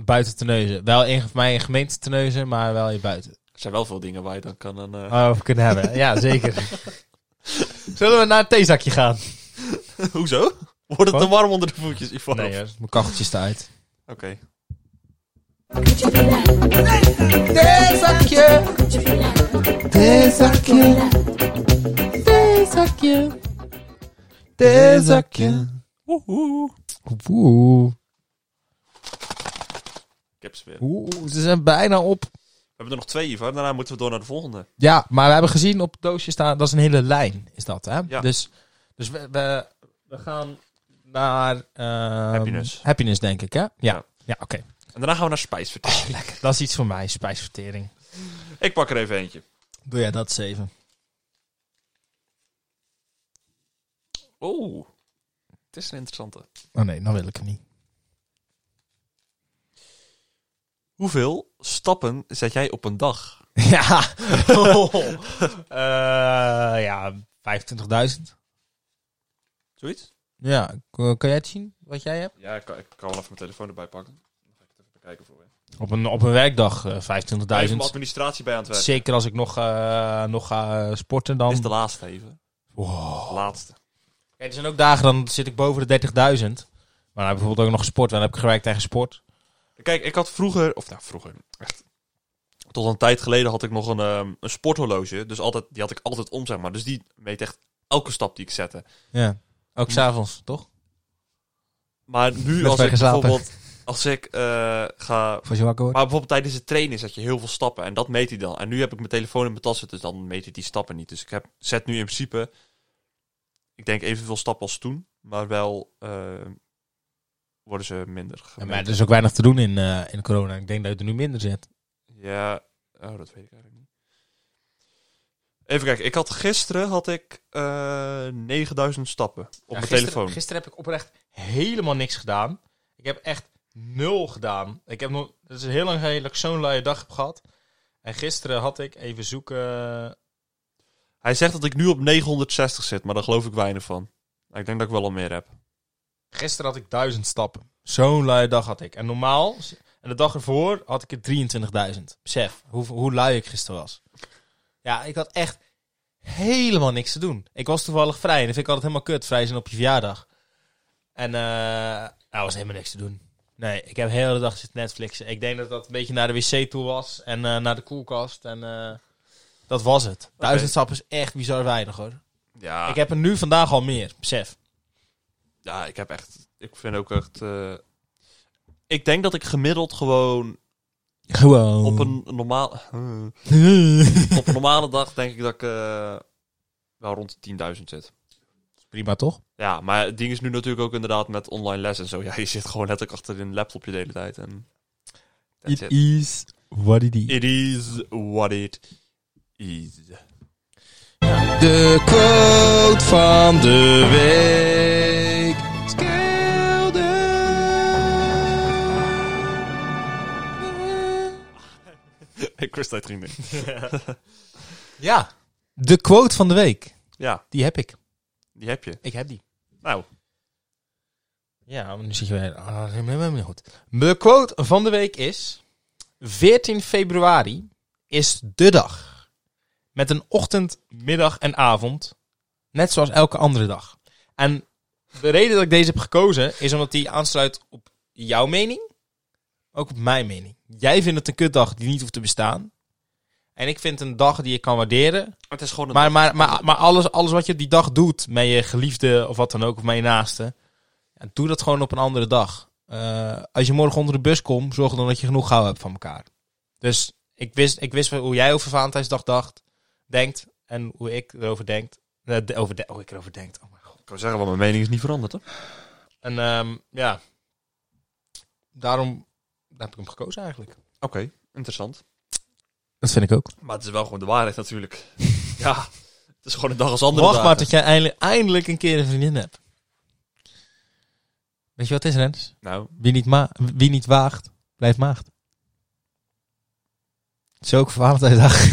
Speaker 1: buiten Terneuzen. Wel in, voor mij in gemeente Terneuzen, maar wel in buiten.
Speaker 2: Er zijn wel veel dingen waar je dan kan een... eh,
Speaker 1: Over Oh, kunnen hebben, ja zeker. Zullen we naar het theezakje gaan?
Speaker 2: Hoezo? Wordt het
Speaker 1: Ah. Wat?
Speaker 2: te warm onder de voetjes, Ivan? Oké.
Speaker 1: hoor, mijn kacheltje staat uit.
Speaker 6: Theezakje. Theezakje.
Speaker 1: Theezakje. Oeh,
Speaker 2: Ik heb ze weer.
Speaker 1: oeh, ze zijn bijna op.
Speaker 2: We hebben er nog twee, Ivan. Daarna moeten we door naar de volgende.
Speaker 1: Ja, maar we hebben gezien op het doosje staan, dat is een hele lijn, is dat hè?
Speaker 2: Ja.
Speaker 1: Dus, dus we, we, we gaan naar... ehm,
Speaker 2: Happiness.
Speaker 1: Happiness denk ik hè? Ja, ja.
Speaker 2: Ja.
Speaker 1: oké.
Speaker 2: En daarna gaan we naar
Speaker 1: Oh.
Speaker 2: spijsvertering.
Speaker 1: Dat is iets voor mij, spijsvertering.
Speaker 2: Ik pak er even eentje.
Speaker 1: Doe jij dat zeven?
Speaker 2: Oeh. Het is een interessante.
Speaker 1: Oh nee, dan wil ik hem niet.
Speaker 2: Hoeveel stappen zet jij op een dag?
Speaker 1: Ja. Eh, ja, 25.000.
Speaker 2: Zoiets?
Speaker 1: Ja, k- kan jij het zien, wat jij hebt?
Speaker 2: Ja, ik kan, ik kan wel even mijn telefoon erbij pakken. Dan ga ik het even bekijken voor je.
Speaker 1: Op een, op een werkdag eh,
Speaker 2: Even
Speaker 1: 25.000.
Speaker 2: mijn administratie bij aan het werk.
Speaker 1: Zeker als ik nog, eh, nog ga eh, sporten
Speaker 2: Dit
Speaker 1: dan.
Speaker 2: is de laatste even.
Speaker 1: Wow.
Speaker 2: Laatste.
Speaker 1: Kijk, er zijn ook dagen, dan zit ik boven de 30.000. Maar dan heb ik bijvoorbeeld ook nog gesport. Dan heb ik gewerkt en gesport.
Speaker 2: Kijk, ik had vroeger, of nou vroeger, echt. Tot een tijd geleden had ik nog een, ehm, een sporthorloge. Dus altijd, die had ik altijd om, zeg maar. Dus die meet echt elke stap die ik zette.
Speaker 1: Ja. Ook s'avonds, toch?
Speaker 2: Maar nu,
Speaker 1: Met
Speaker 2: als ik
Speaker 1: weggeslapen.
Speaker 2: bijvoorbeeld, als ik eh, ga.
Speaker 1: Of als je wakker wordt.
Speaker 2: Maar bijvoorbeeld tijdens het trainen zet je heel veel stappen. En dat meet hij dan. En nu heb ik mijn telefoon in mijn tas zitten, dus dan meet hij die stappen niet. Dus ik heb, zet nu in principe, ik denk evenveel stappen als toen. Maar wel eh, worden ze minder
Speaker 1: Ja,
Speaker 2: gemeten.
Speaker 1: maar er is ook weinig te doen in, eh, in corona. Ik denk dat je er nu minder zit.
Speaker 2: Ja, oh, dat weet ik eigenlijk niet. Even kijken, ik had gisteren had ik eh 9000 stappen op mijn
Speaker 1: gisteren,
Speaker 2: telefoon.
Speaker 1: Gisteren heb ik oprecht helemaal niks gedaan. Ik heb echt nul gedaan. Ik heb nog, het is heel lang geleden dat ik zo'n luie dag heb gehad. En gisteren had ik even zoeken.
Speaker 2: Hij zegt dat ik nu op 960 zit, maar daar geloof ik weinig van. Ik denk dat ik wel al meer heb.
Speaker 1: Gisteren had ik duizend stappen. Zo'n luie dag had ik. En normaal, en de dag ervoor had ik er 23.000. Besef hoe, hoe lui ik gisteren was. Ja, ik had echt helemaal niks te doen. Ik was toevallig vrij. En dat vind ik altijd helemaal kut, vrij zijn op je verjaardag. En eh nou, was helemaal niks te doen. Nee, ik heb de hele dag zitten Netflixen. Ik denk dat dat een beetje naar de wc toe was. En eh, naar de koelkast. En eh, dat was het. Duizend stappen is echt bizar weinig hoor.
Speaker 2: Ja,
Speaker 1: Ik heb er nu vandaag al meer, besef.
Speaker 2: ja, ik heb echt. Ik vind ook echt. eh, ik denk dat ik gemiddeld gewoon
Speaker 1: Gewoon.
Speaker 2: op een normale. op een normale dag denk ik dat ik eh, wel rond de 10.000 zit.
Speaker 1: Prima toch?
Speaker 2: Ja, maar het ding is nu natuurlijk ook inderdaad met online les en zo. Ja, je zit gewoon letterlijk achter een laptopje de hele tijd. En that's it.
Speaker 1: is what it
Speaker 2: It is what it is.
Speaker 4: De quote van de week.
Speaker 2: ik wist dat het ging niet.
Speaker 1: Ja, de quote van de week.
Speaker 2: Ja,
Speaker 1: Die heb ik.
Speaker 2: die heb je.
Speaker 1: Ik heb die.
Speaker 2: Nou,
Speaker 1: Ja, maar nu zit je weer... Ah, helemaal niet goed. De quote van de week is... 14 februari is de dag. Met een ochtend, middag en avond. Net zoals elke andere dag. En de reden dat ik deze heb gekozen is omdat die aansluit op jouw mening. Ook op mijn mening. Jij vindt het een kutdag die niet hoeft te bestaan. En ik vind een dag die je kan waarderen.
Speaker 2: het is gewoon een
Speaker 1: Maar, maar, maar, maar alles, alles wat je die dag doet met je geliefde of wat dan ook, of met je naaste, ja, doe dat gewoon op een andere dag. Eh, als je morgen onder de bus komt, zorg dan dat je genoeg gauw hebt van elkaar. Dus ik wist, ik wist wel hoe jij over Valentijnsdag dacht, denkt en hoe ik erover denk. eh, de- over de, hoe ik erover denk. Oh mijn god.
Speaker 2: Ik kan zeggen, want mijn mening is niet veranderd, hoor.
Speaker 1: En ehm, ja, daarom heb ik hem gekozen eigenlijk.
Speaker 2: Oké, interessant.
Speaker 1: Dat vind ik ook.
Speaker 2: Maar het is wel gewoon de waarheid natuurlijk. ja, het is gewoon een dag als andere
Speaker 1: Wacht maar
Speaker 2: dagen.
Speaker 1: tot jij eindelijk, eindelijk een keer een vriendin hebt. Weet je wat het is, Rens?
Speaker 2: Nou,
Speaker 1: Wie niet, ma- wie niet waagt, blijft maagd. Zo ook voor Valentijnsdag.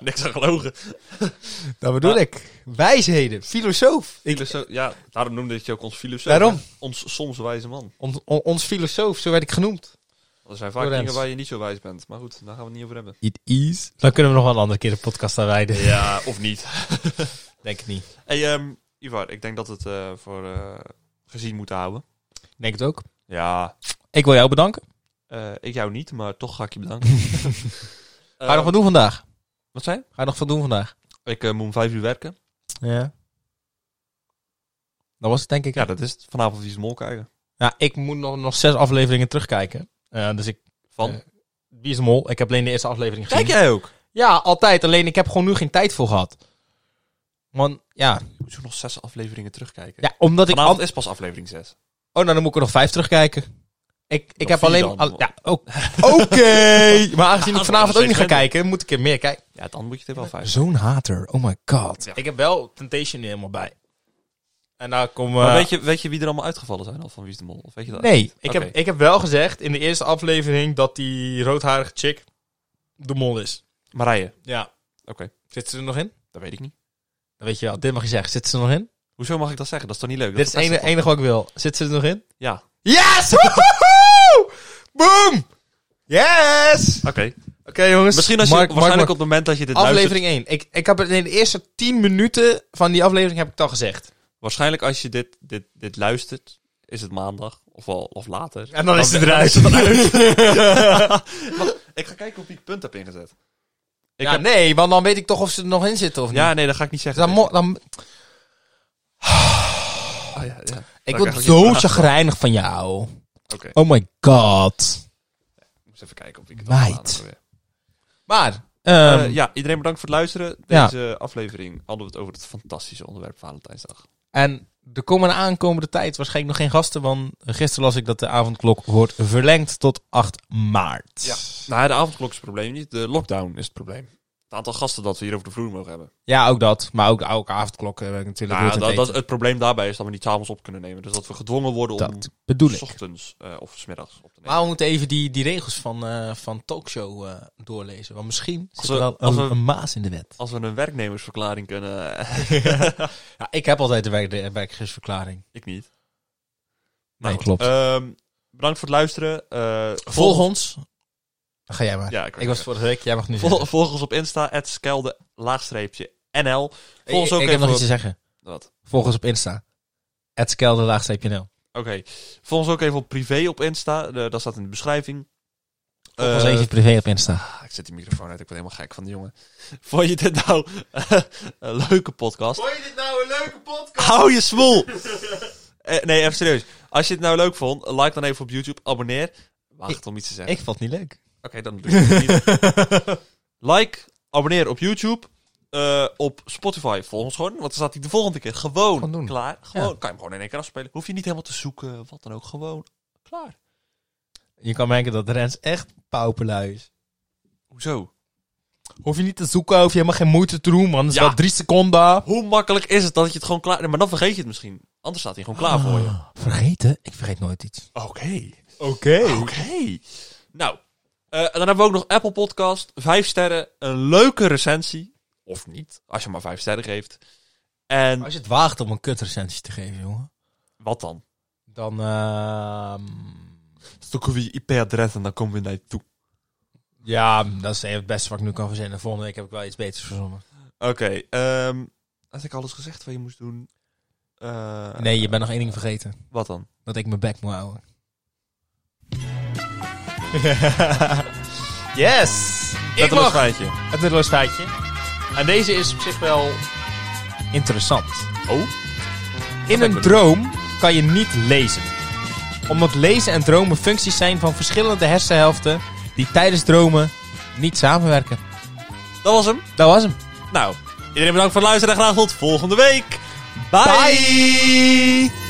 Speaker 2: niks aan gelogen.
Speaker 1: Dat bedoel ik. Wijsheden, filosoof. Ik,
Speaker 2: Filosoof- ja, daarom noemde ik je ook ons filosoof.
Speaker 1: Daarom.
Speaker 2: hè? Ons soms wijze man.
Speaker 1: on- on- ons filosoof, zo werd ik genoemd.
Speaker 2: Er zijn vaak
Speaker 1: Lorenz.
Speaker 2: dingen waar je niet zo wijs bent. Maar goed, daar gaan we het niet over hebben.
Speaker 1: It is. Dan kunnen we nog wel een andere keer de podcast aan wijden.
Speaker 2: Ja, of niet.
Speaker 1: Denk ik niet.
Speaker 2: Hey, ehm, Ivar, ik denk dat we het eh, voor eh, gezien moeten houden.
Speaker 1: Denk het ook.
Speaker 2: Ja.
Speaker 1: Ik wil jou bedanken.
Speaker 2: Eh, ik jou niet, maar toch ga ik je bedanken.
Speaker 1: Ga je nog wat doen vandaag?
Speaker 2: Wat zei je?
Speaker 1: Ga je nog wat doen vandaag?
Speaker 2: Ik eh, moet om vijf uur werken.
Speaker 1: Ja. Dat was het denk ik.
Speaker 2: Ja, dat is het. Vanavond is mol kijken.
Speaker 1: Ja, ik moet nog, nog zes afleveringen terugkijken. Eh, dus ik...
Speaker 2: Van?
Speaker 1: eh, Wie is de mol? Ik heb alleen de eerste aflevering gezien.
Speaker 2: Kijk jij ook?
Speaker 1: Ja, altijd. Alleen ik heb gewoon nu geen tijd voor gehad. Want ja,
Speaker 2: Moet je nog zes afleveringen terugkijken?
Speaker 1: ja omdat ik.
Speaker 2: Vanavond
Speaker 1: an-
Speaker 2: is pas aflevering zes.
Speaker 1: Oh, nou, dan moet ik er nog vijf terugkijken. Ik, ik
Speaker 2: Nog
Speaker 1: heb
Speaker 2: vier
Speaker 1: alleen.
Speaker 2: dan.
Speaker 1: al- ja, ook. Oké. Maar aangezien ik vanavond ook niet ga kijken, moet ik er meer kijken.
Speaker 2: Ja, dus- dan moet je het wel vijf.
Speaker 1: Zo'n hater. Oh my god.
Speaker 2: Ja.
Speaker 1: Ik heb wel Temptation er helemaal bij. En daar kom.
Speaker 2: Maar
Speaker 1: eh,
Speaker 2: weet je, weet je wie er allemaal uitgevallen zijn al van Wie is de Mol? Of weet je dat?
Speaker 1: Nee, ik,
Speaker 2: Oké.
Speaker 1: heb, ik heb wel gezegd in de eerste aflevering dat die roodharige chick de mol is.
Speaker 2: Marije.
Speaker 1: Ja.
Speaker 2: Oké.
Speaker 1: Zit ze er nog in?
Speaker 2: Dat weet ik niet.
Speaker 1: Dan weet je wel, dit mag je zeggen. Zit ze er nog in?
Speaker 2: Hoezo mag ik dat zeggen? Dat is toch niet leuk?
Speaker 1: Dit is het enige, enige wat ik wil. Zit ze er nog in?
Speaker 2: Ja. Oké.
Speaker 1: Yes! Woehoe! Boom! Yes! Oké jongens.
Speaker 2: Misschien als je,
Speaker 1: Mark- Mark,
Speaker 2: waarschijnlijk
Speaker 1: Mark.
Speaker 2: op het moment dat je dit luistert...
Speaker 1: Aflevering 1. Ik, ik heb het in de eerste 10 minuten van die aflevering heb ik het al gezegd.
Speaker 2: Waarschijnlijk als je dit, dit, dit luistert, is het maandag. Of, wel, of later.
Speaker 1: En dan, is het
Speaker 2: dan
Speaker 1: eruit.
Speaker 2: Ik ga kijken of ik punt heb ingezet. Ik
Speaker 1: ja,
Speaker 2: heb-
Speaker 1: nee, want dan weet ik toch of ze er nog in zitten of niet. Dus
Speaker 2: ja, nee, dat ga ik niet zeggen.
Speaker 1: dan, mo- dan,
Speaker 2: Oh, ja, ja.
Speaker 1: ik
Speaker 2: Zou
Speaker 1: word
Speaker 2: ik
Speaker 1: zo
Speaker 2: eigenlijk-
Speaker 1: chagrijnig van jou.
Speaker 2: Oké,
Speaker 1: Oh my god.
Speaker 2: ik moet even kijken of ik het
Speaker 1: Meid.
Speaker 2: maandag weer-
Speaker 1: Maar,
Speaker 2: Eh,
Speaker 1: ehm,
Speaker 2: ja, iedereen bedankt voor het luisteren.
Speaker 1: ja.
Speaker 2: Deze aflevering hadden we het over het fantastische onderwerp Valentijnsdag.
Speaker 1: en er komen de aankomende tijd waarschijnlijk nog geen gasten, want gisteren las ik dat de avondklok wordt verlengd tot 8 maart.
Speaker 2: Nou, de avondklok is het probleem niet. De lockdown is het probleem. het aantal gasten dat we hier over de vloer mogen hebben.
Speaker 1: Ja, ook dat. Maar ook, ook avondklokken eh, natuurlijk.
Speaker 2: Nou,
Speaker 1: nooit
Speaker 2: dat,
Speaker 1: aan
Speaker 2: dat,
Speaker 1: het
Speaker 2: het probleem daarbij is dat we niet s'avonds op kunnen nemen. Dus dat we gedwongen worden
Speaker 1: eten.
Speaker 2: om
Speaker 1: dat bedoel
Speaker 2: s
Speaker 1: ik.
Speaker 2: ochtends eh, of smiddags op te nemen.
Speaker 1: Maar we moeten even die, die regels van, eh, van talkshow eh, doorlezen. Want misschien zit
Speaker 2: we-
Speaker 1: er wel
Speaker 2: als
Speaker 1: een,
Speaker 2: we-
Speaker 1: een maas in de wet.
Speaker 2: Als we een werknemersverklaring kunnen... eh,
Speaker 1: Ja, ik heb altijd de, werk, de werkgeversverklaring.
Speaker 2: ik niet.
Speaker 1: Nee,
Speaker 2: goed.
Speaker 1: klopt.
Speaker 2: Ehm, bedankt voor het luisteren. Eh,
Speaker 1: Volg ons. Dan Ga jij maar.
Speaker 2: Ja, ik,
Speaker 1: ik was vorige week, jij mag nu
Speaker 2: Vol,
Speaker 1: zeggen.
Speaker 2: volg ons op Insta, at skelde, laagstreepje, NL. Volg ons
Speaker 1: Ik-
Speaker 2: ook
Speaker 1: ik
Speaker 2: even
Speaker 1: heb nog
Speaker 2: op-
Speaker 1: iets te zeggen.
Speaker 2: Wat?
Speaker 1: Volg ons op Insta. @skelderlaagstreepje0.
Speaker 2: Oké. Volg ons ook even op privé op Insta. De- dat staat in de beschrijving.
Speaker 1: Volg ons
Speaker 2: Eh,
Speaker 1: even privé op Insta.
Speaker 2: ah, ik zet die microfoon uit. Ik word helemaal gek van die jongen. Vond je dit nou een leuke podcast?
Speaker 4: Vond je dit nou een leuke podcast?
Speaker 2: Hou je smoel! Eh, nee, even serieus. Als je het nou leuk vond, like dan even op YouTube. Abonneer. Wacht om iets te zeggen.
Speaker 1: Ik vond het niet leuk.
Speaker 2: Oké, dan doe ik het niet. Like, abonneer op YouTube. eh, op Spotify volg ons gewoon. Want dan staat hij de volgende keer gewoon,
Speaker 1: Gewoon doen.
Speaker 2: klaar. Gewoon, Kan je hem gewoon in één keer afspelen. Hoef je niet helemaal te zoeken, wat dan ook. Gewoon klaar.
Speaker 1: Je kan merken dat Rens echt pauperlui is.
Speaker 2: Hoezo?
Speaker 1: Hoef je niet te zoeken, hoef je helemaal geen moeite te doen, man. Dat is
Speaker 2: Ja.
Speaker 1: wel drie seconden.
Speaker 2: Hoe makkelijk is het dat je het gewoon klaar... Nee, maar dan vergeet je het misschien. Anders staat hij gewoon klaar voor je.
Speaker 1: Ah, Vergeten? Ik vergeet nooit iets.
Speaker 2: Ah. Oké.
Speaker 1: Oké.
Speaker 2: Oké. Nou, eh, en dan hebben we ook nog Apple Podcast. Vijf sterren, een leuke recensie. Of niet, als je maar vijf sterren geeft. En
Speaker 1: Als je het waagt om een kutrecensie te geven, jongen.
Speaker 2: wat dan?
Speaker 1: Dan, ehm,
Speaker 2: Stokken we je IP-adres en dan komen we naar je toe.
Speaker 1: Ja, dat is het beste wat ik nu kan verzinnen. Volgende week heb ik wel iets beters verzonnen.
Speaker 2: Oké, ehm had ik alles gezegd wat je moest doen? Eh,
Speaker 1: Nee, je bent nog één ding vergeten.
Speaker 2: Wat dan?
Speaker 1: Dat ik mijn bek moet houden. yes!
Speaker 2: Met
Speaker 1: Ik
Speaker 2: een
Speaker 1: mag
Speaker 2: schijntje.
Speaker 1: het middelaarsfeitje. En deze is op zich wel interessant.
Speaker 2: Oh?
Speaker 1: In een droom kan je niet lezen. Omdat lezen en dromen functies zijn van verschillende hersenhelften die tijdens dromen niet samenwerken.
Speaker 2: Dat was hem.
Speaker 1: Dat was hem.
Speaker 2: Nou, iedereen bedankt voor het luisteren en graag tot volgende week. Bye.